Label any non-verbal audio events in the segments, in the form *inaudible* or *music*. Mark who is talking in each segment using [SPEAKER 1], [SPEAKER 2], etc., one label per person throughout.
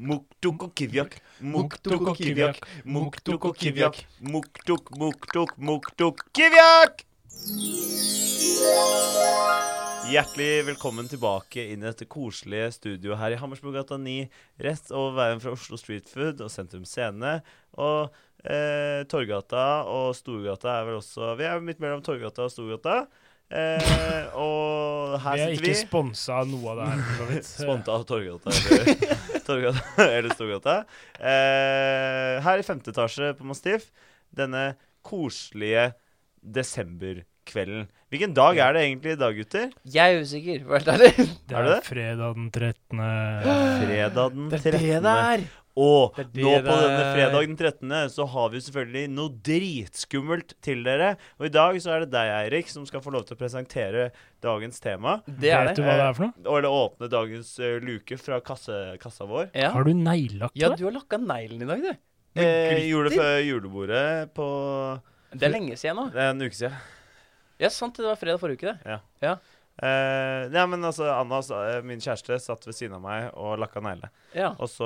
[SPEAKER 1] Muktuk og kivjak. Muktuk og kivjak. Muktuk og kivjak. Muktuk, muktuk, muktuk, kivjak! Hjertelig velkommen tilbake inn i dette koselige studio her i Hammersborggata 9. Rett over veien fra Oslo Street Food og Sentrum Scene. Og eh, Torgata og Storgata er vel også Vi er midt mellom Torgata og Storgata. Eh, og her
[SPEAKER 2] Vi er
[SPEAKER 1] sitter
[SPEAKER 2] ikke
[SPEAKER 1] vi.
[SPEAKER 2] sponsa av noe av det her. for
[SPEAKER 1] *laughs*
[SPEAKER 2] så vidt.
[SPEAKER 1] Sponta av Torgata eller, Torgata, eller Storgata. Eh, her i femte etasje på Mastiff, denne koselige desemberkvelden. Hvilken dag er det egentlig i dag, gutter?
[SPEAKER 3] Jeg er usikker, for å være helt ærlig.
[SPEAKER 2] Det
[SPEAKER 1] Er
[SPEAKER 2] er
[SPEAKER 1] det det?
[SPEAKER 2] fredag den
[SPEAKER 1] *gasps*
[SPEAKER 2] 13.
[SPEAKER 1] Fredag den
[SPEAKER 3] *laughs* Eh, Det
[SPEAKER 1] 13. Og nå
[SPEAKER 3] er det det er. Det er det
[SPEAKER 1] på
[SPEAKER 3] det
[SPEAKER 1] denne
[SPEAKER 3] er.
[SPEAKER 1] fredag den 13. så har vi selvfølgelig noe dritskummelt til dere. Og i dag så er det deg, Eirik, som skal få lov til å presentere dagens tema.
[SPEAKER 3] Det er
[SPEAKER 2] Vet du
[SPEAKER 3] det.
[SPEAKER 2] hva det er for noe?
[SPEAKER 1] Og eller åpne dagens eh, luke fra kasse, kassa vår.
[SPEAKER 3] Ja.
[SPEAKER 2] Har du neglelakk
[SPEAKER 3] ja,
[SPEAKER 2] på deg?
[SPEAKER 3] du har lakka neglen i dag, du. Med
[SPEAKER 1] Eh, gjorde det
[SPEAKER 3] glitter.
[SPEAKER 1] før julebordet på
[SPEAKER 3] Det er lenge siden nå.
[SPEAKER 1] Det er en uke siden.
[SPEAKER 3] Ja, sant det. Det var fredag forrige uke, det.
[SPEAKER 1] Eh, ja, men altså, Anna, sa- eh, min kjæreste, satt ved siden av meg og lakka negle.
[SPEAKER 3] Ja.
[SPEAKER 1] Og så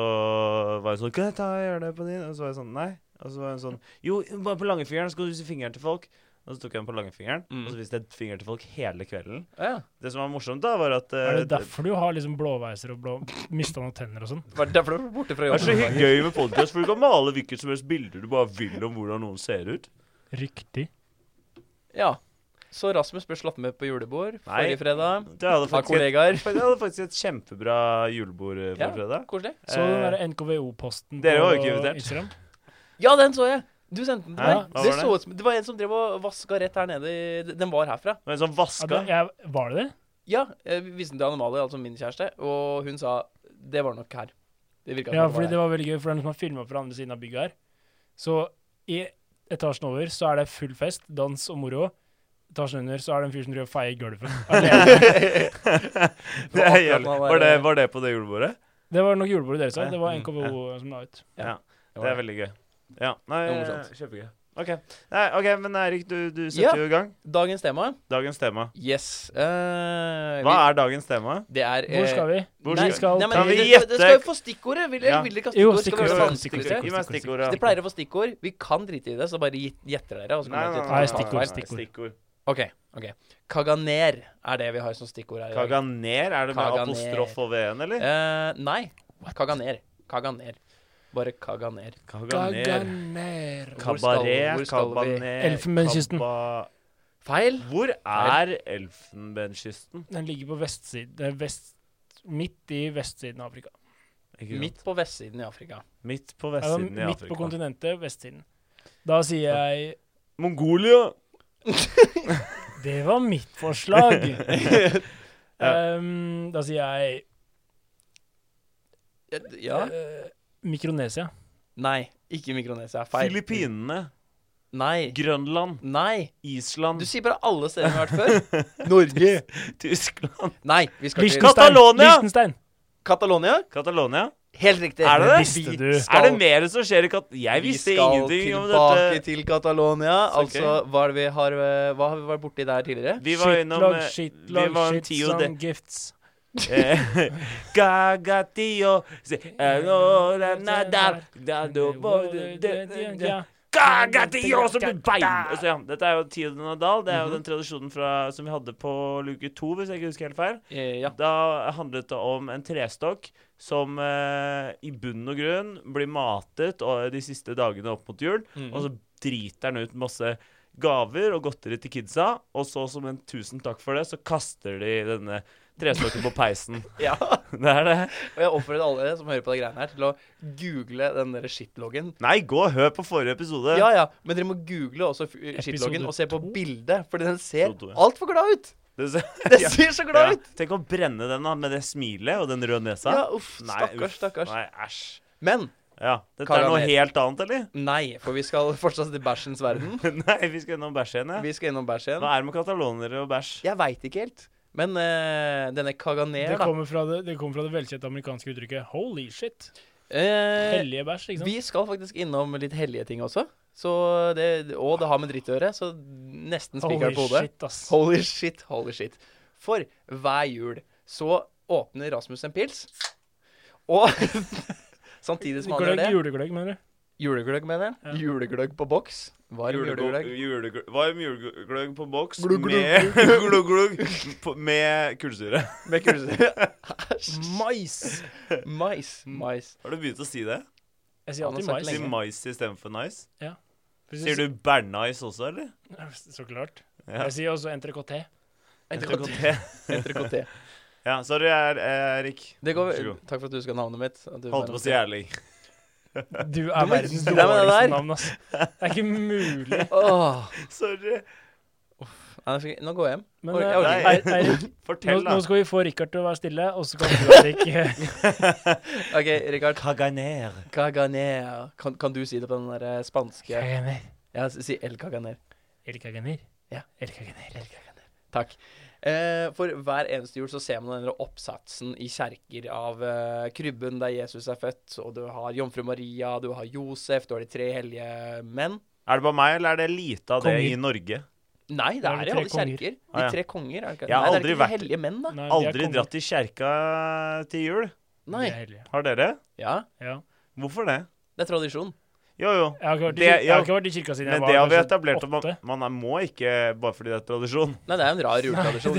[SPEAKER 1] var hun sånn 'Kan jeg ta og gjøre det på din?' Og så var jeg sånn 'Nei'. Og så var hun sånn 'Jo, bare på langfingeren, så skal du vise fingeren til folk'. Og så tok jeg den på langfingeren,
[SPEAKER 3] Mm.
[SPEAKER 1] og så viste jeg fingeren til folk hele kvelden.
[SPEAKER 3] ja.
[SPEAKER 1] Det som var morsomt, da, var at eh,
[SPEAKER 2] Er det derfor du har liksom blåveiser og blå mista noen tenner og sånn?
[SPEAKER 3] Var det derfor du var borte fra
[SPEAKER 1] det er så
[SPEAKER 3] jobben?
[SPEAKER 1] hy- gøy med podkast, for du kan male hvilket som helst bilder du bare vil om hvordan noen ser ut.
[SPEAKER 2] Riktig.
[SPEAKER 3] Ja. Så Rasmus ble slått med på julebord
[SPEAKER 1] Nei.
[SPEAKER 3] forrige fredag.
[SPEAKER 1] Det hadde
[SPEAKER 3] Av
[SPEAKER 1] faktisk et,
[SPEAKER 3] kollegaer.
[SPEAKER 1] jeg hadde faktisk et kjempebra julebord eh, på
[SPEAKER 3] Ja.
[SPEAKER 1] fredag.
[SPEAKER 3] Koselig.
[SPEAKER 2] Så den
[SPEAKER 1] Eh,
[SPEAKER 2] der NKVO-posten
[SPEAKER 1] dere var jo
[SPEAKER 2] på
[SPEAKER 1] ikke invitert.
[SPEAKER 2] Instagram?
[SPEAKER 3] Ja, den så jeg! Du sendte den til
[SPEAKER 1] Hæ?
[SPEAKER 3] meg.
[SPEAKER 1] Hva var
[SPEAKER 3] det,
[SPEAKER 1] det?
[SPEAKER 3] så ut som, det var en som drev og vaska rett her nede. i- Den var herfra.
[SPEAKER 1] Men sånn
[SPEAKER 2] Ja,
[SPEAKER 1] vaska
[SPEAKER 2] det- jeg- Var det det?
[SPEAKER 3] Ja, eh, jeg viste den til Anne-Malie, altså min kjæreste, og hun sa det var nok her. Det virka
[SPEAKER 2] Ja,
[SPEAKER 3] som
[SPEAKER 2] fordi
[SPEAKER 3] det
[SPEAKER 2] det
[SPEAKER 3] var her.
[SPEAKER 2] var veldig gøy, for den som har filma fra andre siden av bygget her. Så i etasjen over så er det full fest, dans og moro. Etasjen under så er det en fyr som driver og feier i gulvet.
[SPEAKER 1] *laughs*
[SPEAKER 2] Alene.
[SPEAKER 1] det er jævlig.
[SPEAKER 3] Akkurat, man
[SPEAKER 1] var, det,
[SPEAKER 3] er-
[SPEAKER 1] var det på det julebordet?
[SPEAKER 2] Det var nok julebordet deres òg.
[SPEAKER 1] Ja.
[SPEAKER 2] Det var
[SPEAKER 3] Mm,
[SPEAKER 2] NKVO som la ut.
[SPEAKER 3] Ja.
[SPEAKER 1] Ja.
[SPEAKER 3] Det
[SPEAKER 1] Det
[SPEAKER 3] var
[SPEAKER 1] er veldig gøy. Ja. Nei,
[SPEAKER 3] Det var morsomt.
[SPEAKER 1] kjempegøy. OK. Nei, ok, Men Eirik, du, du
[SPEAKER 3] Ja.
[SPEAKER 1] setter jo i gang.
[SPEAKER 3] Dagens tema
[SPEAKER 1] Dagens tema.
[SPEAKER 3] Yes. eh,
[SPEAKER 1] Hva
[SPEAKER 3] vi-
[SPEAKER 1] er dagens tema?
[SPEAKER 3] Det er
[SPEAKER 2] Hvor skal vi?
[SPEAKER 1] Hvor skal
[SPEAKER 2] Nei, skal-
[SPEAKER 3] nei, men,
[SPEAKER 1] Kan vi
[SPEAKER 3] det-
[SPEAKER 1] gjette-
[SPEAKER 3] Det skal jo få stikkordet. Vil dere
[SPEAKER 1] Ja.
[SPEAKER 3] vil dere ikke ha
[SPEAKER 2] Jo,
[SPEAKER 3] stikkord? Skal vi
[SPEAKER 2] stikkord,
[SPEAKER 3] ha
[SPEAKER 2] stikkord,
[SPEAKER 3] vanskeligere?
[SPEAKER 2] stikkord,
[SPEAKER 1] Gi meg
[SPEAKER 2] stikkord,
[SPEAKER 1] stikkordet.
[SPEAKER 3] Dere pleier å få stikkord. Vi kan drite i det, så bare gi- gjetter dere. Og så
[SPEAKER 1] Nei, nei,
[SPEAKER 3] kommer jeg til
[SPEAKER 1] nei,
[SPEAKER 3] å ta
[SPEAKER 2] Nei,
[SPEAKER 3] feil.
[SPEAKER 2] stikkord, stikkord.
[SPEAKER 1] stikkord.
[SPEAKER 3] Ok, ok. Kaganer er det vi har som stikkord her i dag.
[SPEAKER 1] Kaganer? Er det med
[SPEAKER 3] Kaganer.
[SPEAKER 1] apostrof og V-en, eller?
[SPEAKER 3] Eh, nei. Kaganer. Kaganer. Bare kaganer.
[SPEAKER 1] Kaganer.
[SPEAKER 3] Hvor skal-
[SPEAKER 1] Kabaret,
[SPEAKER 3] hvor skal vi?
[SPEAKER 1] kabaner
[SPEAKER 2] Elfenbenskysten.
[SPEAKER 1] kaba-
[SPEAKER 3] Feil.
[SPEAKER 1] Hvor er Elfenbenskysten?
[SPEAKER 2] Den ligger på vestsiden det er vest, Midt i vestsiden av Afrika.
[SPEAKER 1] Ikke sant?
[SPEAKER 3] Midt på vestsiden i Afrika.
[SPEAKER 1] midt på
[SPEAKER 2] Ja,
[SPEAKER 1] vestsiden i
[SPEAKER 2] midt på
[SPEAKER 1] Afrika.
[SPEAKER 2] kontinentet, vestsiden. Da sier jeg
[SPEAKER 1] Mongolia!
[SPEAKER 2] Det var mitt
[SPEAKER 1] *laughs*
[SPEAKER 2] forslag. *laughs* Ehm, da sier jeg
[SPEAKER 3] Ja.
[SPEAKER 2] eh, Mikronesia.
[SPEAKER 3] Nei, ikke Mikronesia. Feil.
[SPEAKER 1] Filippinene.
[SPEAKER 3] Nei.
[SPEAKER 1] Grønland.
[SPEAKER 3] Nei.
[SPEAKER 1] Island.
[SPEAKER 3] Du sier bare alle steder vi har vært før.
[SPEAKER 1] *laughs*
[SPEAKER 3] Norge.
[SPEAKER 1] Tyskland.
[SPEAKER 3] Nei, vi skal til
[SPEAKER 1] Liechtenstein. Catalonia!
[SPEAKER 2] Liechtenstein.
[SPEAKER 3] Catalonia.
[SPEAKER 1] *laughs* Catalonia.
[SPEAKER 3] Helt riktig.
[SPEAKER 1] Er det det?
[SPEAKER 2] Visste
[SPEAKER 3] Vi
[SPEAKER 2] du?
[SPEAKER 3] skal-
[SPEAKER 1] Er det mer som skjer i Kat... Jeg visste ingenting om
[SPEAKER 3] Vi skal tilbake
[SPEAKER 1] dette.
[SPEAKER 3] til Catalonia.
[SPEAKER 1] Så
[SPEAKER 3] Altså, hva, er det vi har, eh, hva har vi vært borti der tidligere?
[SPEAKER 1] Vi var innom eh,
[SPEAKER 2] Shitlog,
[SPEAKER 1] Vi
[SPEAKER 2] shitlog,
[SPEAKER 1] var en
[SPEAKER 2] shit,
[SPEAKER 1] tio *laughs*
[SPEAKER 2] some gifts.
[SPEAKER 1] de- Gagatio se- eh, Aurora Nadal Dado Bode- de- de- de- Gagatio som et bein! Altså, ja, dette er jo Tio de Nadal. Det er jo den tradisjonen fra, som vi hadde på luke to, hvis jeg ikke husker helt feil.
[SPEAKER 3] Eh, ja.
[SPEAKER 1] Da handlet det om en trestokk som eh, i bunn og grunn blir matet og, eh, de siste dagene opp mot jul,
[SPEAKER 3] Mhm.
[SPEAKER 1] og så driter den ut masse gaver og godteri til kidsa, og så som en tusen takk for det, så kaster de denne trestokken på peisen.
[SPEAKER 3] *laughs*
[SPEAKER 1] *laughs*
[SPEAKER 3] ja. Og
[SPEAKER 1] Det er det.
[SPEAKER 3] jeg oppfordrer alle som hører på de greiene her, til å google den der shitloggen.
[SPEAKER 1] Nei, gå og hør på forrige episode.
[SPEAKER 3] Ja, ja, men dere må google også f- shitloggen og se på
[SPEAKER 2] to?
[SPEAKER 3] bildet, fordi den ser
[SPEAKER 1] Episode to, ja.
[SPEAKER 3] altfor glad
[SPEAKER 1] *laughs*
[SPEAKER 3] ut!
[SPEAKER 1] Det,
[SPEAKER 3] *laughs* Den
[SPEAKER 1] *laughs*
[SPEAKER 3] ser så glad ut!
[SPEAKER 1] Tenk å brenne den da, med det smilet og den røde nesa.
[SPEAKER 3] Ja, uff,
[SPEAKER 1] Nei,
[SPEAKER 3] stakkars,
[SPEAKER 1] uff.
[SPEAKER 3] stakkars.
[SPEAKER 1] Nei, æsj.
[SPEAKER 3] Men
[SPEAKER 1] Ja, dette er
[SPEAKER 3] Karamer.
[SPEAKER 1] noe helt annet, eller? *laughs*
[SPEAKER 3] nei, for vi skal fortsatt til bæsjens verden.
[SPEAKER 1] Nei, vi skal gjennom bæsj igjen, ja.
[SPEAKER 3] Vi skal innom bæsj igjen.
[SPEAKER 1] Hva er det med katalonere og bæsj?
[SPEAKER 3] Jeg veit ikke helt, men eh, denne Kaganer,
[SPEAKER 2] Det
[SPEAKER 3] da
[SPEAKER 2] kommer fra det, det, kommer fra det velkjente amerikanske uttrykket 'holy shit'.
[SPEAKER 3] eh,
[SPEAKER 2] Hellige bæsj, ikke sant?
[SPEAKER 3] Vi skal faktisk innom litt hellige ting også. Så det, og det har med dritt å gjøre, så nesten spikeren på hodet.
[SPEAKER 2] shit, ass.
[SPEAKER 3] Holy shit, holy shit. For hver jul så åpner Rasmus en pils, Og *laughs* samtidig som han gjør
[SPEAKER 2] Gløgg,
[SPEAKER 3] det
[SPEAKER 2] julegløgg, mener du?
[SPEAKER 3] Julegløgg, mener
[SPEAKER 2] Ja.
[SPEAKER 3] jeg. Julegløgg på boks. Varm
[SPEAKER 1] *laughs*
[SPEAKER 3] julegløgg.
[SPEAKER 1] Julegløgg. Varm julegløgg på boks
[SPEAKER 3] Glugg, glugg,
[SPEAKER 1] med *laughs* glugg, glugg, på- med kullsyre.
[SPEAKER 3] Med kullsyre. Æsj.
[SPEAKER 2] Mais!
[SPEAKER 3] Mais.
[SPEAKER 2] *laughs* Mm.
[SPEAKER 3] Mais.
[SPEAKER 1] Har du begynt å si det?
[SPEAKER 2] Jeg sier
[SPEAKER 3] Ja, nå
[SPEAKER 2] alltid
[SPEAKER 3] sa jeg
[SPEAKER 2] mais.
[SPEAKER 1] Si
[SPEAKER 3] lenge.
[SPEAKER 1] mais istedenfor nice?
[SPEAKER 2] Hvis jeg
[SPEAKER 1] Sier du bærnice også, eller?
[SPEAKER 2] sier- Så klart.
[SPEAKER 1] Ja.
[SPEAKER 2] Jeg sier også entrecôte.
[SPEAKER 3] Entrecôte. *laughs* Entrecôte.
[SPEAKER 1] Ja, sorry, jeg er eh, Erik.
[SPEAKER 3] Det går
[SPEAKER 1] Vær så god.
[SPEAKER 3] Takk for at du husker navnet mitt. At du-
[SPEAKER 1] Holdt på å si Erling. *laughs*
[SPEAKER 3] *laughs*
[SPEAKER 2] Du er verdens
[SPEAKER 3] Nei, men det
[SPEAKER 2] dårligste
[SPEAKER 3] der-
[SPEAKER 2] navn, ass. Det er ikke mulig.
[SPEAKER 3] Åh.
[SPEAKER 1] Sorry.
[SPEAKER 3] Nei, jeg fikk- Nå går jeg hjem.
[SPEAKER 2] Men
[SPEAKER 3] Oi,
[SPEAKER 2] eh,
[SPEAKER 3] jeg
[SPEAKER 1] orker
[SPEAKER 2] Eirik,
[SPEAKER 1] ikke.
[SPEAKER 2] Eirik, nå,
[SPEAKER 1] Fortell,
[SPEAKER 2] nå
[SPEAKER 1] da.
[SPEAKER 2] skal vi få Rikard til å være stille, og så kan du
[SPEAKER 3] *laughs*
[SPEAKER 2] Eirik
[SPEAKER 3] OK, Rikard.
[SPEAKER 1] Kaganer.
[SPEAKER 3] Caganer. Kan, kan du si det på den der eh, spanske
[SPEAKER 2] Kaganer.
[SPEAKER 3] Ja, s- si El Caganer.
[SPEAKER 2] Erik Kaganer.
[SPEAKER 3] Ja.
[SPEAKER 2] Erik Kaganer.
[SPEAKER 3] El Caganer. Takk. Eh, for hver eneste jul så ser man denne oppsatsen i kjerker av eh, krybben der Jesus er født, og du har jomfru Maria, du har Josef, du har de tre hellige menn.
[SPEAKER 1] Er det bare meg, eller er det lite av det
[SPEAKER 2] Konger.
[SPEAKER 1] i Norge?
[SPEAKER 3] Nei, det
[SPEAKER 2] Da er
[SPEAKER 3] er
[SPEAKER 2] det
[SPEAKER 3] i
[SPEAKER 2] tre
[SPEAKER 3] alle kjerker.
[SPEAKER 1] Ah, ja.
[SPEAKER 3] De tre konger, er det ikke?
[SPEAKER 1] Jeg har
[SPEAKER 3] Nei, det
[SPEAKER 1] aldri
[SPEAKER 3] er ikke de
[SPEAKER 1] vært-
[SPEAKER 3] hellige menn, da.
[SPEAKER 2] Nei, de er
[SPEAKER 1] Aldri
[SPEAKER 2] konger.
[SPEAKER 1] dratt i kjerka til jul.
[SPEAKER 3] Nei.
[SPEAKER 2] De er hellige.
[SPEAKER 1] Har dere?
[SPEAKER 3] Ja,
[SPEAKER 2] Ja.
[SPEAKER 1] Hvorfor det?
[SPEAKER 3] det er tradisjon.
[SPEAKER 1] Jo, jo.
[SPEAKER 2] Jeg har ikke vært i,
[SPEAKER 1] Det-
[SPEAKER 2] kir- jeg
[SPEAKER 1] ja.
[SPEAKER 2] har ikke vært i kirka siden jeg
[SPEAKER 1] Men
[SPEAKER 2] var
[SPEAKER 1] det har vi
[SPEAKER 2] kanskje
[SPEAKER 1] etablert at man,
[SPEAKER 2] åtte.
[SPEAKER 1] man er, må ikke bare fordi det er tradisjon.
[SPEAKER 3] Nei, det er jo en rar juletradisjon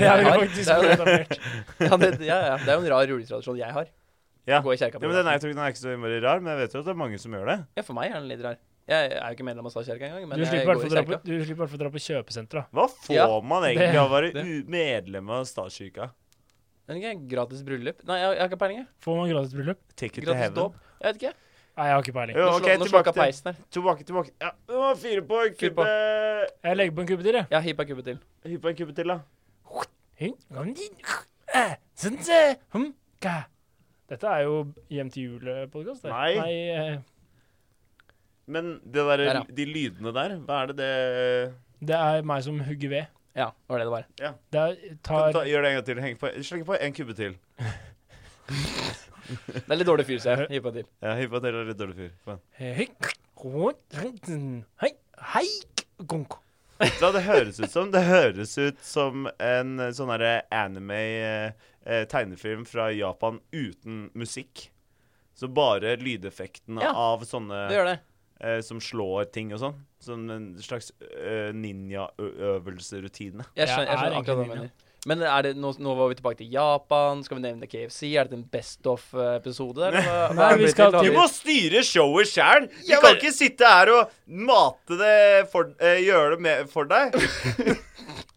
[SPEAKER 2] *laughs* Det har
[SPEAKER 3] jeg
[SPEAKER 2] vi
[SPEAKER 3] har. Det
[SPEAKER 2] faktisk
[SPEAKER 3] er jo det.
[SPEAKER 2] etablert.
[SPEAKER 3] Ja, det, ja, ja. det er jo en rar juletradisjon jeg har.
[SPEAKER 1] Ja.
[SPEAKER 3] Gå i kjerka
[SPEAKER 1] Ja,
[SPEAKER 3] på
[SPEAKER 1] men den er,
[SPEAKER 3] julaften.
[SPEAKER 1] jeg tror ikke den er ikke så innmari rar, men jeg vet jo at det er mange som gjør det.
[SPEAKER 3] Ja, for meg er den litt rar. Jeg er jo ikke medlem av statskirka engang, *laughs* men
[SPEAKER 2] Du
[SPEAKER 3] jeg
[SPEAKER 2] slipper i
[SPEAKER 3] går
[SPEAKER 2] hvert
[SPEAKER 3] i
[SPEAKER 2] fall dra
[SPEAKER 3] kirka.
[SPEAKER 2] på- du slipper i hvert fall dra på kjøpesenteret.
[SPEAKER 1] Hva får
[SPEAKER 3] Ja,
[SPEAKER 1] man
[SPEAKER 2] det-
[SPEAKER 1] egentlig av å være
[SPEAKER 3] det.
[SPEAKER 1] u- medlem av statskirka?
[SPEAKER 3] Men ikke gratis bryllup? Nei, jeg, jeg har ikke peiling. jeg.
[SPEAKER 2] Får man gratis bryllup?
[SPEAKER 1] Take it to
[SPEAKER 3] Gratis
[SPEAKER 1] heaven.
[SPEAKER 3] dåp? Jeg vet ikke.
[SPEAKER 2] Nei, jeg har ikke peiling.
[SPEAKER 1] Jo,
[SPEAKER 3] Nå,
[SPEAKER 1] ok,
[SPEAKER 3] slå, nå
[SPEAKER 1] tilbake
[SPEAKER 3] slaka
[SPEAKER 1] til,
[SPEAKER 3] peisen her.
[SPEAKER 1] tilbake, tilbake. Ja, å, fire på en
[SPEAKER 3] Fire på.
[SPEAKER 1] kubbe.
[SPEAKER 2] Jeg legger på en kubbe til, jeg.
[SPEAKER 3] Jeg har hippa kubbet til.
[SPEAKER 1] Hypp på en kubbe til, da.
[SPEAKER 2] Dette er jo Hjem til jul-podkast.
[SPEAKER 1] Nei.
[SPEAKER 2] Nei eh,
[SPEAKER 1] Men det der,
[SPEAKER 3] Der, ja.
[SPEAKER 1] de lydene der, hva er det det
[SPEAKER 2] det er meg som hugger ved.
[SPEAKER 3] Ja, det var det det var.
[SPEAKER 2] Det er,
[SPEAKER 1] Kan du
[SPEAKER 2] tar
[SPEAKER 1] ta, Gjør det en gang til. Heng på, sleng på en kubbe til.
[SPEAKER 3] Det er litt dårlig fyr, så jeg hippa til.
[SPEAKER 1] Ja, hypp på til er litt dårlig fyr. Kom igjen.
[SPEAKER 2] Hei, hei, hei, gonk.
[SPEAKER 1] Vet du hva det høres ut som? Det høres ut som en eh, sånn herre anime-tegnefilm fra Japan uten musikk. Så bare lydeffektene
[SPEAKER 3] Ja,
[SPEAKER 1] av sånne
[SPEAKER 3] Det gjør det.
[SPEAKER 1] eh, som slår ting og sånn. Som en slags eh, ninjaøvelserutine.
[SPEAKER 3] Jeg
[SPEAKER 2] Jeg
[SPEAKER 3] skjønner, jeg
[SPEAKER 2] er
[SPEAKER 3] skjønner akkurat hva
[SPEAKER 2] egentlig
[SPEAKER 3] du mener. Men er det, nå, nå var vi tilbake til Japan. Skal vi nevne KFC? Er det en Best of-episode der? eller Hva, hva
[SPEAKER 2] Nei,
[SPEAKER 3] er
[SPEAKER 2] vi
[SPEAKER 3] det
[SPEAKER 2] skal
[SPEAKER 3] til? Har
[SPEAKER 1] Du
[SPEAKER 2] til-
[SPEAKER 3] vi-
[SPEAKER 1] må styre showet sjæl! Du
[SPEAKER 3] Ja,
[SPEAKER 1] kan
[SPEAKER 3] men-
[SPEAKER 1] ikke sitte her og mate det for, eh, gjøre det med, for deg.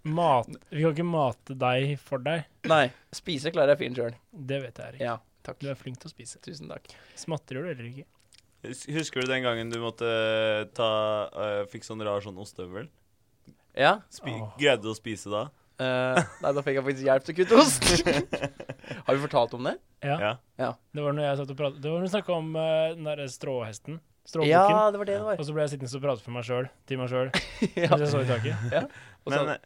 [SPEAKER 2] Mat Vi kan ikke mate deg for deg.
[SPEAKER 3] Nei. Spise klarer jeg fint sjøl.
[SPEAKER 2] Det vet jeg, Erik.
[SPEAKER 3] Ja. Takk.
[SPEAKER 2] Du er flink til å spise.
[SPEAKER 3] Tusen takk.
[SPEAKER 2] Smatter gjør du heller ikke.
[SPEAKER 1] Hus- Husker du den gangen du måtte ta eh, Fikk sånn rar sånn ostehøvel?
[SPEAKER 3] Ja.
[SPEAKER 1] Spi
[SPEAKER 2] Åh.
[SPEAKER 1] Greide du å spise da?
[SPEAKER 3] eh, nei, da fikk jeg faktisk hjelp til å kutte ost.
[SPEAKER 1] *laughs*
[SPEAKER 3] Har vi fortalt om det?
[SPEAKER 2] Ja.
[SPEAKER 1] Ja.
[SPEAKER 2] Det var når jeg satt og pratet Det var når vi snakka om eh, den derre stråhesten. Stråbukken.
[SPEAKER 3] Ja, det var det det var.
[SPEAKER 2] Og så ble jeg sittende og prate for meg sjøl, til meg sjøl.
[SPEAKER 3] *laughs* Ja.
[SPEAKER 2] mens jeg så i taket.
[SPEAKER 3] Og så-
[SPEAKER 1] Men eh,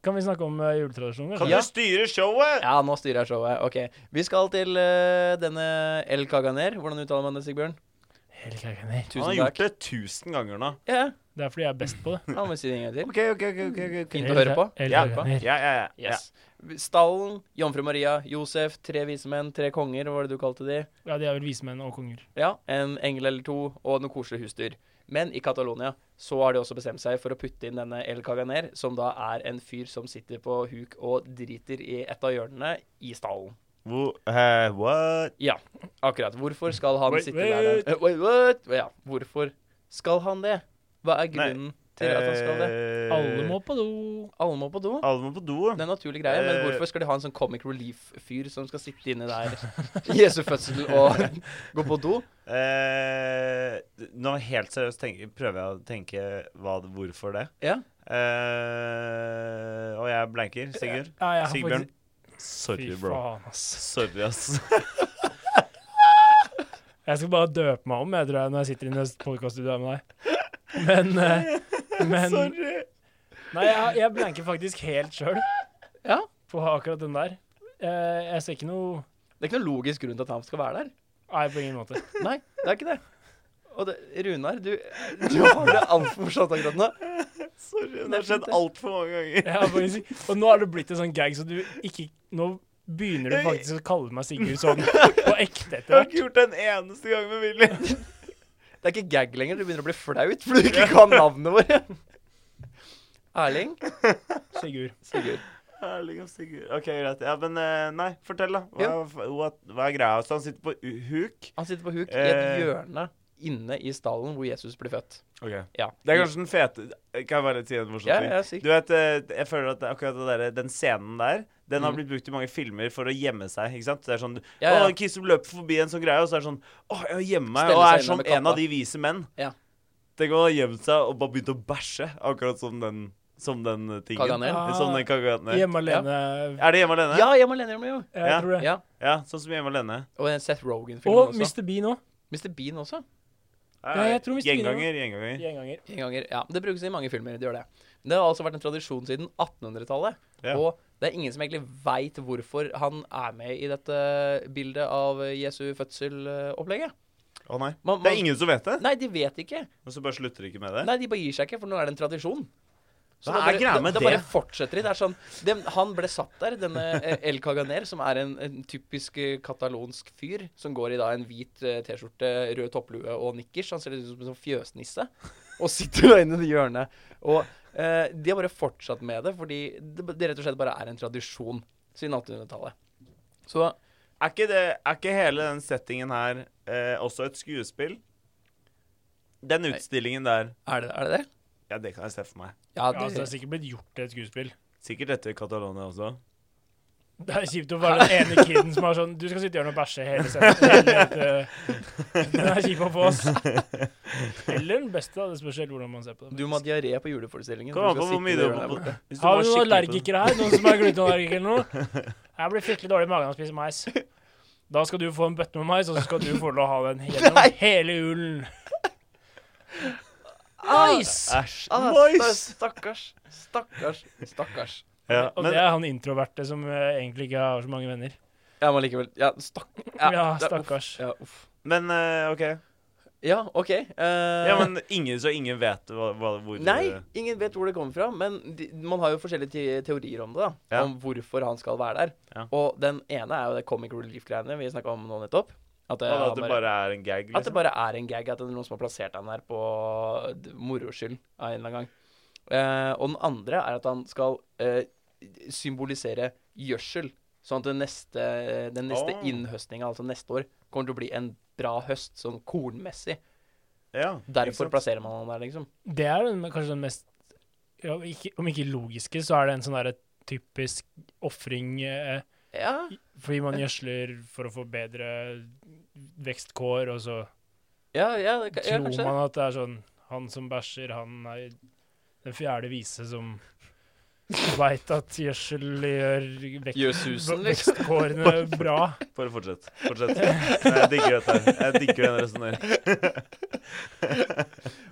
[SPEAKER 2] Kan vi snakke om uh, juletradisjoner?
[SPEAKER 1] Kan
[SPEAKER 3] Ja.
[SPEAKER 1] du styre showet?
[SPEAKER 3] Ja, nå styrer jeg showet. Ok. Vi skal til eh, denne El Kaganer. Hvordan uttaler man det, Sigbjørn?
[SPEAKER 2] Helt
[SPEAKER 1] Han
[SPEAKER 2] kakaner.
[SPEAKER 1] har
[SPEAKER 3] Tusen
[SPEAKER 1] gjort
[SPEAKER 3] takk.
[SPEAKER 1] det tusen ganger nå.
[SPEAKER 3] Ja,
[SPEAKER 2] Det er fordi jeg er best på det.
[SPEAKER 3] da må vi si det en gang til.
[SPEAKER 1] OK, OK. ok, ok, ok, ok.
[SPEAKER 3] Fint å høre på.
[SPEAKER 2] Helt
[SPEAKER 1] Ja, ja,
[SPEAKER 2] kakaner.
[SPEAKER 1] ja, ja, *laughs* ja.
[SPEAKER 3] Yes. Stallen, Jomfru Maria, Josef, tre vise menn, tre konger, hva var det du kalte de?
[SPEAKER 2] Ja, de er vel vismenn og konger.
[SPEAKER 3] Ja, en engel eller to, og noen koselige husdyr. Men i Catalonia så har de også bestemt seg for å putte inn denne El Caganer, som da er en fyr som sitter på huk og driter i et av hjørnene i stallen.
[SPEAKER 1] Hvor- eh, what?
[SPEAKER 3] Akkurat. Hvorfor skal han
[SPEAKER 2] Wait,
[SPEAKER 3] sitte
[SPEAKER 2] wait.
[SPEAKER 3] der? Eh, Wait, what? Ja, hvorfor skal han det? Hva er grunnen til at han skal det?
[SPEAKER 1] Eh,
[SPEAKER 2] Alle må på do.
[SPEAKER 3] Alle må på do.
[SPEAKER 1] Alle må på do.
[SPEAKER 3] Det er en naturlig greie, men
[SPEAKER 1] ah, Eh.
[SPEAKER 3] hvorfor skal de ha en sånn comic relief-fyr som skal sitte inne der *laughs* Jesu fødsel og *laughs* gå på do?
[SPEAKER 1] Eh, nå helt seriøst tenk, prøver jeg å tenke hva, hvorfor det.
[SPEAKER 3] Ja.
[SPEAKER 1] Eh, og jeg blanker. Sigurd?
[SPEAKER 2] Ja, jeg har
[SPEAKER 1] Sigbjørn?
[SPEAKER 2] faktisk-
[SPEAKER 1] Sorry,
[SPEAKER 2] Fy
[SPEAKER 1] bro.
[SPEAKER 2] faen, ass.
[SPEAKER 1] Sorry, ass.
[SPEAKER 2] Jeg skal bare døpe meg om, jeg tror jeg, når jeg sitter inne i podkaststudioet med deg. Men,
[SPEAKER 1] *laughs*
[SPEAKER 2] eh, men
[SPEAKER 1] Sorry.
[SPEAKER 2] Nei, jeg, jeg blanker faktisk helt sjøl
[SPEAKER 3] Ja.
[SPEAKER 2] på akkurat den der. Eh, jeg ser ikke noe
[SPEAKER 3] Det er ikke noen logisk grunn til at han skal være der.
[SPEAKER 2] Nei, på ingen måte.
[SPEAKER 3] Nei, det er ikke det. Og det, Runar, du, du har det altfor morsomt akkurat nå.
[SPEAKER 1] Sorry. Det har skjedd altfor mange ganger.
[SPEAKER 2] Jeg har faktisk, og nå har det blitt en sånn gag, så du ikke Nå begynner du faktisk å kalle meg Sigurd sånn på ekte etter hvert.
[SPEAKER 1] gjort det en eneste gang med Willy.
[SPEAKER 3] Det er ikke gag lenger. Du begynner å bli flaut fordi du ikke kan navnet vårt. *laughs* Erling.
[SPEAKER 2] Sigurd.
[SPEAKER 3] Sigurd.
[SPEAKER 1] Erling og Sigurd. OK, greit. Ja, men eh, nei, fortell, da. Hva,
[SPEAKER 3] Ja.
[SPEAKER 1] hva, hva er greia? Så han sitter på u- huk.
[SPEAKER 3] Han sitter på huk i et
[SPEAKER 1] Eh.
[SPEAKER 3] hjørne inne i stallen hvor Jesus ble født. Ja.
[SPEAKER 1] Det er kanskje den fete Kan jeg bare si en morsom
[SPEAKER 3] Ja,
[SPEAKER 1] ting?
[SPEAKER 3] ja, sikkert.
[SPEAKER 1] Du vet, eh, jeg føler at akkurat det der, den scenen der den har
[SPEAKER 3] Mhm.
[SPEAKER 1] blitt brukt i mange filmer for å gjemme seg. ikke sant? Det er sånn,
[SPEAKER 3] Ja, ja.
[SPEAKER 1] Å, en kis som løper forbi en sånn greie, og så er det sånn Å, jeg må gjemme meg.
[SPEAKER 3] Stelle
[SPEAKER 1] Og
[SPEAKER 3] seg
[SPEAKER 1] er
[SPEAKER 3] inne
[SPEAKER 1] som
[SPEAKER 3] med
[SPEAKER 1] en
[SPEAKER 3] katta.
[SPEAKER 1] av de vise menn.
[SPEAKER 3] Ja.
[SPEAKER 1] Tenk om han har gjemt seg og bare begynt å bæsje, akkurat som den, som den eh, tingen.
[SPEAKER 3] Kaganer.
[SPEAKER 1] Eh, Som den kaganer.
[SPEAKER 2] Hjemme alene.
[SPEAKER 1] Er det Hjemme alene?
[SPEAKER 3] Ah. Ja, jeg må lene meg jo.
[SPEAKER 2] Jeg
[SPEAKER 1] Ja.
[SPEAKER 2] tror det.
[SPEAKER 3] Ja.
[SPEAKER 1] Ja, sånn som Hjemme alene.
[SPEAKER 3] Og den Seth Rogan-filmen
[SPEAKER 2] Og
[SPEAKER 3] også.
[SPEAKER 2] Mr. Bean òg.
[SPEAKER 3] Mr. Bean også.
[SPEAKER 2] Ja, jeg tror vi spiller
[SPEAKER 1] Gjenganger, gjenganger.
[SPEAKER 2] Gjenganger.
[SPEAKER 3] En ganger, ja, Det brukes i mange filmer. Det gjør det. Det har altså vært en tradisjon siden 1800-tallet.
[SPEAKER 1] Ja.
[SPEAKER 3] Og det er ingen som egentlig veit hvorfor han er med i dette bildet av Jesu fødsel-opplegget.
[SPEAKER 1] Å nei.
[SPEAKER 3] Man-
[SPEAKER 1] Det
[SPEAKER 3] man-
[SPEAKER 1] er ingen som vet det.
[SPEAKER 3] Nei, de vet ikke.
[SPEAKER 1] Og så bare slutter de ikke med det.
[SPEAKER 3] Nei, De bare gir seg ikke, for nå er det en tradisjon.
[SPEAKER 1] Hva er greia med
[SPEAKER 3] det,
[SPEAKER 1] det?
[SPEAKER 3] bare fortsetter de. Det er sånn, dem- han ble satt der, denne eh, El Caganer, som er en, en typisk eh, katalonsk fyr, som går i da en hvit eh, T-skjorte, rød topplue og nikkers. Han ser litt ut som en sånn fjøsnisse. Og sitter da inne i hjørnet. Og eh, de har bare fortsatt med det, fordi det, det rett og slett bare er en tradisjon siden 1800-tallet. Så
[SPEAKER 1] Er ikke, det, er ikke hele den settingen her eh, også et skuespill? Den utstillingen der
[SPEAKER 3] er det er det? det?
[SPEAKER 1] Ja, det kan jeg se for meg.
[SPEAKER 3] Ja,
[SPEAKER 2] Ja, altså, det
[SPEAKER 3] det,
[SPEAKER 2] er sikkert blitt gjort til et skuespill.
[SPEAKER 1] Sikkert dette i Catalonia også.
[SPEAKER 2] Det er kjipt å være den ene kiden som er sånn Du skal sitte i hjørnet og bæsje hele sendingen. Den er kjip å få, ass. Eller den beste, da. Det spørs helt hvordan man ser på det.
[SPEAKER 3] du må ha diaré på juleforestillingen.
[SPEAKER 1] Kom
[SPEAKER 3] for
[SPEAKER 1] an
[SPEAKER 3] du
[SPEAKER 1] på
[SPEAKER 3] skal
[SPEAKER 1] hvor
[SPEAKER 3] sitte
[SPEAKER 1] mye
[SPEAKER 3] i
[SPEAKER 1] du må
[SPEAKER 3] det hjørnet der borte.
[SPEAKER 2] Har vi noen allergikere her? Noen som er glutenallergiker eller noe? Jeg blir fryktelig dårlig i magen av å spise mais. Da skal du få en bøtte med mais, og så skal du få lov å ha den gjennom
[SPEAKER 3] Nei.
[SPEAKER 2] hele julen. Nice!
[SPEAKER 1] Æsj.
[SPEAKER 3] Ah,
[SPEAKER 1] Nice!
[SPEAKER 3] Stakkars. Stakkars. Stakkars.
[SPEAKER 1] Ja,
[SPEAKER 2] Og
[SPEAKER 1] men
[SPEAKER 2] det er han introverte som eh, egentlig ikke har så mange venner.
[SPEAKER 3] Ja, men likevel. Ja, stakk...
[SPEAKER 2] Ja,
[SPEAKER 3] det er-
[SPEAKER 2] stakkars.
[SPEAKER 3] uff, Ja, uff.
[SPEAKER 1] men eh, OK.
[SPEAKER 3] Ja, OK. eh,
[SPEAKER 1] Ja, men ingen, så ingen vet hva, hva, hvor
[SPEAKER 3] Nei, ingen vet hvor det kommer fra, men de, man har jo forskjellige te teorier om det. da
[SPEAKER 1] Ja.
[SPEAKER 3] Om hvorfor han skal være der.
[SPEAKER 1] Ja.
[SPEAKER 3] Og den ene er jo det comic relief-greiene vi snakka om nå nettopp. At eh,
[SPEAKER 1] Hva
[SPEAKER 3] det,
[SPEAKER 1] da,
[SPEAKER 3] han
[SPEAKER 1] At det
[SPEAKER 3] bare,
[SPEAKER 1] bare er en gag,
[SPEAKER 3] at det
[SPEAKER 1] liksom?
[SPEAKER 3] bare er en gag. At det er noen som har plassert han der på d- moro skyld av en eller annen gang. Eh, og den andre er at han skal eh, symbolisere gjødsel. Sånn at den neste, den neste
[SPEAKER 1] Ah.
[SPEAKER 3] innhøstninga, altså neste år, kommer til å bli en bra høst, sånn kornmessig.
[SPEAKER 1] Ja, ikke
[SPEAKER 3] Derfor
[SPEAKER 1] sant?
[SPEAKER 3] plasserer man han der, liksom.
[SPEAKER 2] Det er den, kanskje den mest ja, ikke, Om ikke logiske, så er det en sånn derre typisk ofring eh,
[SPEAKER 3] Ja,
[SPEAKER 2] fordi man gjødsler for å få bedre vekstkår, og så
[SPEAKER 3] ja, ja, det, ka- ja
[SPEAKER 2] tror
[SPEAKER 3] kanskje.
[SPEAKER 2] man at det er sånn Han som bæsjer, han er den fjerde vise som veit at gjødsel gjør vek
[SPEAKER 3] Gjør susen, liksom.
[SPEAKER 2] vekstkårene bra.
[SPEAKER 1] Bare fortsett. Fortsett. Jeg digger dette. her. Jeg digger den resonneringen.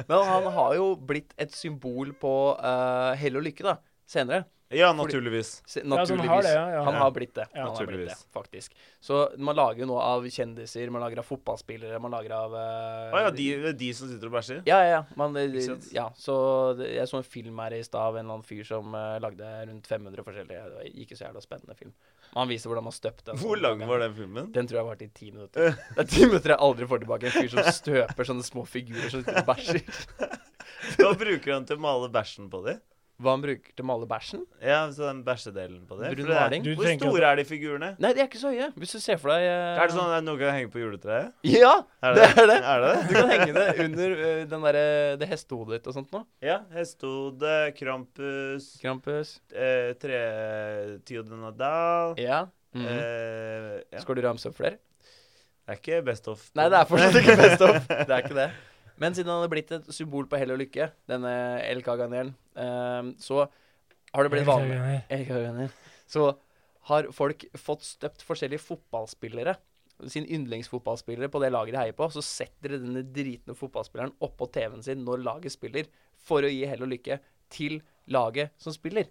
[SPEAKER 3] Men han har jo blitt et symbol på eh, hell og lykke, da. Senere.
[SPEAKER 1] Ja, naturligvis.
[SPEAKER 3] Se,
[SPEAKER 2] Ja, så
[SPEAKER 3] naturligvis.
[SPEAKER 2] han har det, ja, ja.
[SPEAKER 3] Han har blitt det.
[SPEAKER 2] Ja.
[SPEAKER 3] han har blitt det,
[SPEAKER 1] Naturligvis.
[SPEAKER 3] faktisk. Så man lager jo nå av kjendiser, man lager av fotballspillere, man lager av eh,
[SPEAKER 1] Å ja, de, de som sitter og bæsjer?
[SPEAKER 3] Ja, ja, ja. Man, eh,
[SPEAKER 1] Ikke sant?
[SPEAKER 3] ja. Så det- jeg så en film her i stad av en eller annen fyr som eh, lagde rundt 500 forskjellige Det var ikke så jævla spennende film. Men han viser hvordan man støpte en
[SPEAKER 1] Hvor
[SPEAKER 3] sånn-
[SPEAKER 1] lang var den
[SPEAKER 3] *laughs*
[SPEAKER 1] filmen?
[SPEAKER 3] Den tror jeg varte i ti minutter. Det er ti minutter jeg aldri får tilbake. En fyr som støper sånne små figurer som sitter og bæsjer.
[SPEAKER 1] Hva bruker han til å male bæsjen på de?
[SPEAKER 3] Hva han bruker til å male bæsjen?
[SPEAKER 1] Ja, så den bæsjedelen på det.
[SPEAKER 3] Brun
[SPEAKER 1] For det er-
[SPEAKER 3] maling?
[SPEAKER 2] Du
[SPEAKER 1] Hvor
[SPEAKER 2] tenker at-
[SPEAKER 1] store er de figurene?
[SPEAKER 3] Nei, de er ikke så høye. Hvis du ser for deg eh,
[SPEAKER 1] Er det sånn at noen kan henge på juletreet?
[SPEAKER 3] Ja!
[SPEAKER 1] Er det
[SPEAKER 3] Det er det.
[SPEAKER 1] Er det?
[SPEAKER 3] Du kan henge det under eh, den derre det hestehodet ditt og sånt nå.
[SPEAKER 1] Ja. Hestehode, Krampus,
[SPEAKER 3] Krampus.
[SPEAKER 1] eh, tre Tiodenadal
[SPEAKER 3] Ja. Eh,
[SPEAKER 1] eh, Mm. ja.
[SPEAKER 3] Skal du ramse opp flere?
[SPEAKER 1] Det er ikke best of.
[SPEAKER 3] Nei, det er
[SPEAKER 1] *laughs*
[SPEAKER 3] fortsatt ikke best of. Det er ikke det. Men siden han er blitt et symbol på hell og lykke, denne El Caganeren, eh, så har det blitt vanlig El Caganer. Så har folk fått støpt forskjellige fotballspillere, sin yndlingsfotballspillere, på det laget de heier på. Så setter de denne dritne fotballspilleren oppå TV-en sin når laget spiller, for å gi hell og lykke til laget som spiller.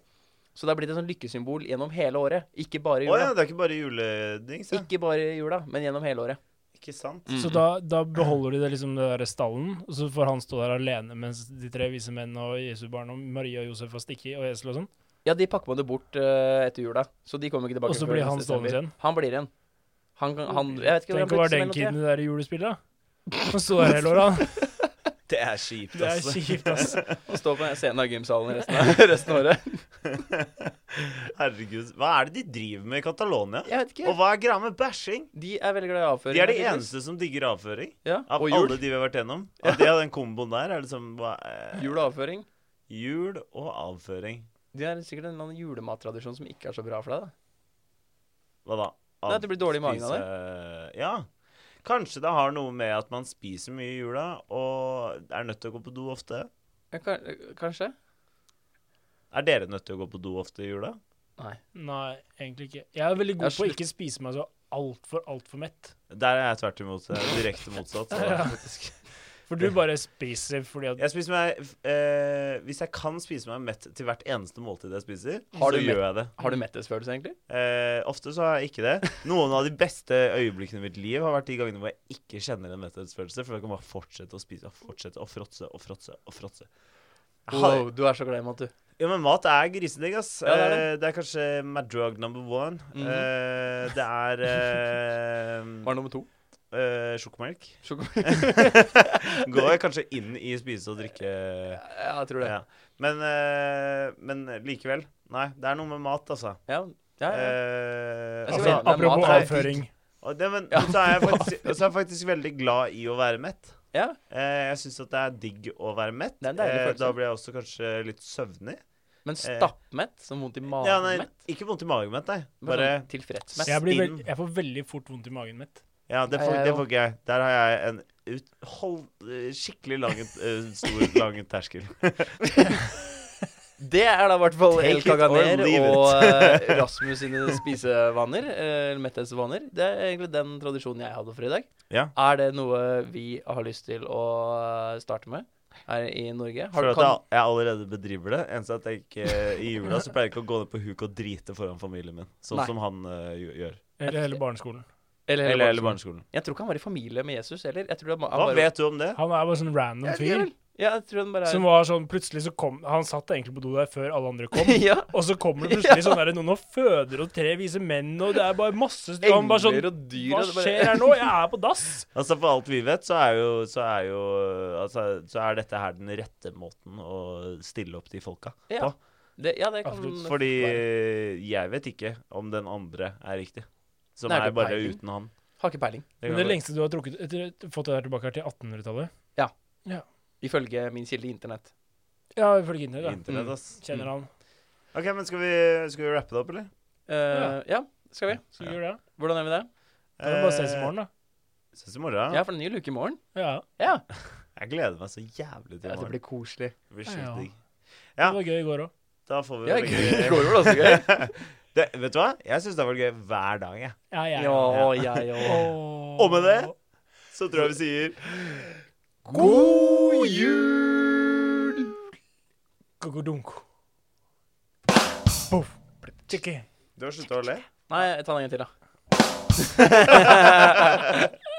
[SPEAKER 3] Så det har blitt et sånn lykkesymbol gjennom hele året. Ikke bare i
[SPEAKER 1] Å ja,
[SPEAKER 3] jula.
[SPEAKER 1] det er ikke bare juledings, ja.
[SPEAKER 3] Ikke bare i jula, men gjennom hele året.
[SPEAKER 1] Ikke sant?
[SPEAKER 2] Så
[SPEAKER 3] Mhm.
[SPEAKER 2] da, da beholder de det liksom det der stallen, og så får han stå der alene mens de tre vise menn og Jesu barn og Maria og Josef har stikket og esel og sånn.
[SPEAKER 3] Ja, de pakker man det bort eh, etter jula, så de kommer ikke tilbake.
[SPEAKER 2] Og så
[SPEAKER 3] før
[SPEAKER 2] blir
[SPEAKER 3] neste
[SPEAKER 2] han
[SPEAKER 3] desember.
[SPEAKER 2] stående igjen?
[SPEAKER 3] Han blir igjen. Han, kan- han, jeg vet ikke
[SPEAKER 2] Tenk
[SPEAKER 3] hvor
[SPEAKER 2] å
[SPEAKER 3] han blir
[SPEAKER 2] være
[SPEAKER 3] til
[SPEAKER 2] den
[SPEAKER 3] mellomtida.
[SPEAKER 2] kiden i det der julespillet. Og så er det Loran.
[SPEAKER 3] *laughs*
[SPEAKER 1] Det er kjipt,
[SPEAKER 2] Det er
[SPEAKER 1] altså.
[SPEAKER 2] kjipt, ass.
[SPEAKER 3] Og stå på scenen av gymsalen resten av, *laughs* resten av året.
[SPEAKER 1] Herregud. Hva er det de driver med i Catalonia?
[SPEAKER 3] Jeg vet
[SPEAKER 1] Og
[SPEAKER 3] ikke.
[SPEAKER 1] hva er greia med bæsjing?
[SPEAKER 3] De er veldig glad i avføring.
[SPEAKER 1] De er de
[SPEAKER 3] tydeligvis.
[SPEAKER 1] eneste som digger avføring.
[SPEAKER 3] Ja.
[SPEAKER 1] Av
[SPEAKER 3] Og
[SPEAKER 1] alle
[SPEAKER 3] jul. *laughs*
[SPEAKER 1] de vi har vært gjennom. Ja, det og den komboen der er liksom hva, eh,
[SPEAKER 3] Jul og avføring.
[SPEAKER 1] Jul og avføring.
[SPEAKER 3] De har sikkert en eller annen julemattradisjon som ikke er så bra for deg. da.
[SPEAKER 1] Hva da?
[SPEAKER 3] Nei, at det blir dårlig i magen av
[SPEAKER 1] det? Ja. Kanskje det har noe med at man spiser mye i jula og er nødt til å gå på do ofte.
[SPEAKER 3] Ja, ka- Kanskje?
[SPEAKER 1] Er dere nødt til å gå på do ofte i jula?
[SPEAKER 3] Nei.
[SPEAKER 2] Nei, egentlig ikke. Jeg er veldig
[SPEAKER 3] Jeg
[SPEAKER 2] god
[SPEAKER 3] er
[SPEAKER 2] på å
[SPEAKER 3] slutt-
[SPEAKER 2] ikke spise meg så altfor, altfor mett.
[SPEAKER 1] Der er jeg tvert imot. eh, Direkte motsatt.
[SPEAKER 3] *laughs*
[SPEAKER 1] Så.
[SPEAKER 2] Ja. For du bare spiser fordi at
[SPEAKER 1] Jeg spiser meg eh, Hvis jeg kan spise meg mett til hvert eneste måltid jeg spiser, så
[SPEAKER 3] Har du mett-
[SPEAKER 1] gjør jeg det.
[SPEAKER 3] Har du metthetsfølelse, egentlig?
[SPEAKER 1] Eh, ofte så har jeg ikke det. Noen av de beste øyeblikkene i mitt liv har vært de gangene hvor jeg ikke kjenner en metthetsfølelse, for jeg kan bare fortsette å spise og fortsette å fråtse og fråtse og fråtse. Jeg har-
[SPEAKER 3] Wow, du er så glad i mat, du.
[SPEAKER 1] Ja, men mat er grisedigg, ass.
[SPEAKER 3] Ja, det er det.
[SPEAKER 1] Eh, det er kanskje my drug number one.
[SPEAKER 3] Mhm.
[SPEAKER 1] Eh, det
[SPEAKER 3] *laughs*
[SPEAKER 1] er eh,
[SPEAKER 3] Var nummer to?
[SPEAKER 1] eh, sjokomelk.
[SPEAKER 3] Sjokolade?
[SPEAKER 1] *laughs* Går kanskje inn i spise og drikke
[SPEAKER 3] Ja, jeg tror det.
[SPEAKER 1] ja. men, eh, men likevel. Nei, det er noe med mat, altså.
[SPEAKER 3] Ja, ja, ja.
[SPEAKER 1] Eh,
[SPEAKER 3] Jeg skal
[SPEAKER 1] altså,
[SPEAKER 3] være- det er
[SPEAKER 2] Apropos
[SPEAKER 3] mat, det er-
[SPEAKER 2] avføring.
[SPEAKER 1] Og det, men,
[SPEAKER 3] *laughs* Ja.
[SPEAKER 1] så, er jeg faktisk, så er jeg faktisk veldig glad i å være mett.
[SPEAKER 3] Ja.
[SPEAKER 1] Eh, jeg syns at det er digg å være mett. Eh,
[SPEAKER 3] Det er en deilig følelse.
[SPEAKER 1] da blir jeg også kanskje litt søvnig.
[SPEAKER 3] Men stappmett? Som vondt i
[SPEAKER 1] eh. Ja, nei,
[SPEAKER 3] magen-mett?
[SPEAKER 1] ikke vondt i magen, mett, nei.
[SPEAKER 3] Bare
[SPEAKER 1] Bare
[SPEAKER 3] sånn tilfredsmett?
[SPEAKER 2] Jeg, blir
[SPEAKER 1] Stinn.
[SPEAKER 2] veld, jeg får veldig fort vondt i magen mitt.
[SPEAKER 1] Ja, det
[SPEAKER 3] Ja,
[SPEAKER 1] får,
[SPEAKER 3] jeg
[SPEAKER 1] det
[SPEAKER 3] òg.
[SPEAKER 1] får ikke jeg. Der har jeg en ut, hold, eh, skikkelig lang, eh, stor lang terskel.
[SPEAKER 3] Det er da i hvert fall
[SPEAKER 1] Take
[SPEAKER 3] El
[SPEAKER 1] it
[SPEAKER 3] Kaganer
[SPEAKER 1] or leave *laughs*
[SPEAKER 3] og eh, Rasmus sine spisevaner. eh, Metthetsvaner. Det er egentlig den tradisjonen jeg hadde for i dag.
[SPEAKER 1] Ja.
[SPEAKER 3] Er det noe vi har lyst til å eh, starte med her i Norge? Har,
[SPEAKER 1] For at
[SPEAKER 3] kan,
[SPEAKER 1] jeg, jeg allerede bedriver det. Eneste at jeg ikke I jula så pleier jeg ikke å gå ned på huk og drite foran familien min, sånn
[SPEAKER 3] Nei.
[SPEAKER 1] som han eh, gjø- gjør.
[SPEAKER 2] Eller hele barneskolen.
[SPEAKER 3] eller,
[SPEAKER 1] Eller
[SPEAKER 3] eller
[SPEAKER 1] hele barneskolen.
[SPEAKER 3] Jeg tror ikke han var i familie med Jesus heller. Jeg tror han, han
[SPEAKER 1] Hva
[SPEAKER 3] bare,
[SPEAKER 1] vet du om det?
[SPEAKER 2] Han er bare sånn random
[SPEAKER 3] Ja,
[SPEAKER 2] fyr.
[SPEAKER 3] Ja, jeg tror han bare er *laughs*
[SPEAKER 2] Som var sånn, plutselig så kom Han satt egentlig på do der før alle andre kom.
[SPEAKER 3] ja,
[SPEAKER 2] Og så kommer det plutselig sånn der, noen og føder og tre vise menn, og det er bare masse styr. Han bare sånn
[SPEAKER 3] Engler og dyr
[SPEAKER 2] Hva
[SPEAKER 3] og det bare-
[SPEAKER 2] skjer her nå? Jeg er på dass!
[SPEAKER 1] Altså For alt vi vet, så er jo, så er jo altså, Så er dette her den rette måten å stille opp de folka
[SPEAKER 3] ja.
[SPEAKER 1] på.
[SPEAKER 3] Det, ja, det kan
[SPEAKER 2] Absolutt.
[SPEAKER 1] Fordi jeg vet ikke om den andre er riktig. Som
[SPEAKER 3] Nei, det
[SPEAKER 1] er
[SPEAKER 3] er
[SPEAKER 1] bare
[SPEAKER 3] peiling.
[SPEAKER 1] uten han.
[SPEAKER 3] Har ikke peiling.
[SPEAKER 1] kan
[SPEAKER 2] Men det
[SPEAKER 1] jeg-
[SPEAKER 2] lengste du har trukket etter, fått det der tilbake, er til 1800-tallet.
[SPEAKER 3] Ifølge min kilde internett.
[SPEAKER 2] Ja, ifølge Internett. da.
[SPEAKER 1] Internett,
[SPEAKER 3] Mm.
[SPEAKER 1] ass.
[SPEAKER 2] Kjenner han.
[SPEAKER 1] OK, men skal vi, skal vi rappe det opp, eller?
[SPEAKER 3] Eh, ja. skal vi?
[SPEAKER 2] Skal vi gjøre det?
[SPEAKER 3] Hvordan gjør vi det?
[SPEAKER 2] Da er det bare å ses i morgen, da.
[SPEAKER 1] Eh, Ses i morgen.
[SPEAKER 3] Ja, for det er en ny luke i morgen.
[SPEAKER 2] Ja.
[SPEAKER 3] Ja.
[SPEAKER 1] Jeg gleder meg så jævlig til i
[SPEAKER 3] ja det
[SPEAKER 1] morgen.
[SPEAKER 3] blir koselig.
[SPEAKER 1] Det blir
[SPEAKER 2] Ja, ja.
[SPEAKER 1] sjukt digg.
[SPEAKER 2] Det
[SPEAKER 1] Ja.
[SPEAKER 2] var gøy i går òg.
[SPEAKER 1] Da får vi
[SPEAKER 3] Ja,
[SPEAKER 1] velge-
[SPEAKER 3] gøy. Går vel også gøy.
[SPEAKER 1] *laughs* det, Vet du hva? Jeg syns det har vært gøy hver dag, jeg.
[SPEAKER 2] Ja, jeg.
[SPEAKER 3] Ja, og jeg òg.
[SPEAKER 2] Åh.
[SPEAKER 1] Og med det- Så tror jeg vi sier
[SPEAKER 3] God jul!
[SPEAKER 2] Kokodunko. Poff. Chicky.
[SPEAKER 1] Du har slutta å le?
[SPEAKER 3] Nei, ta den en gang til, da.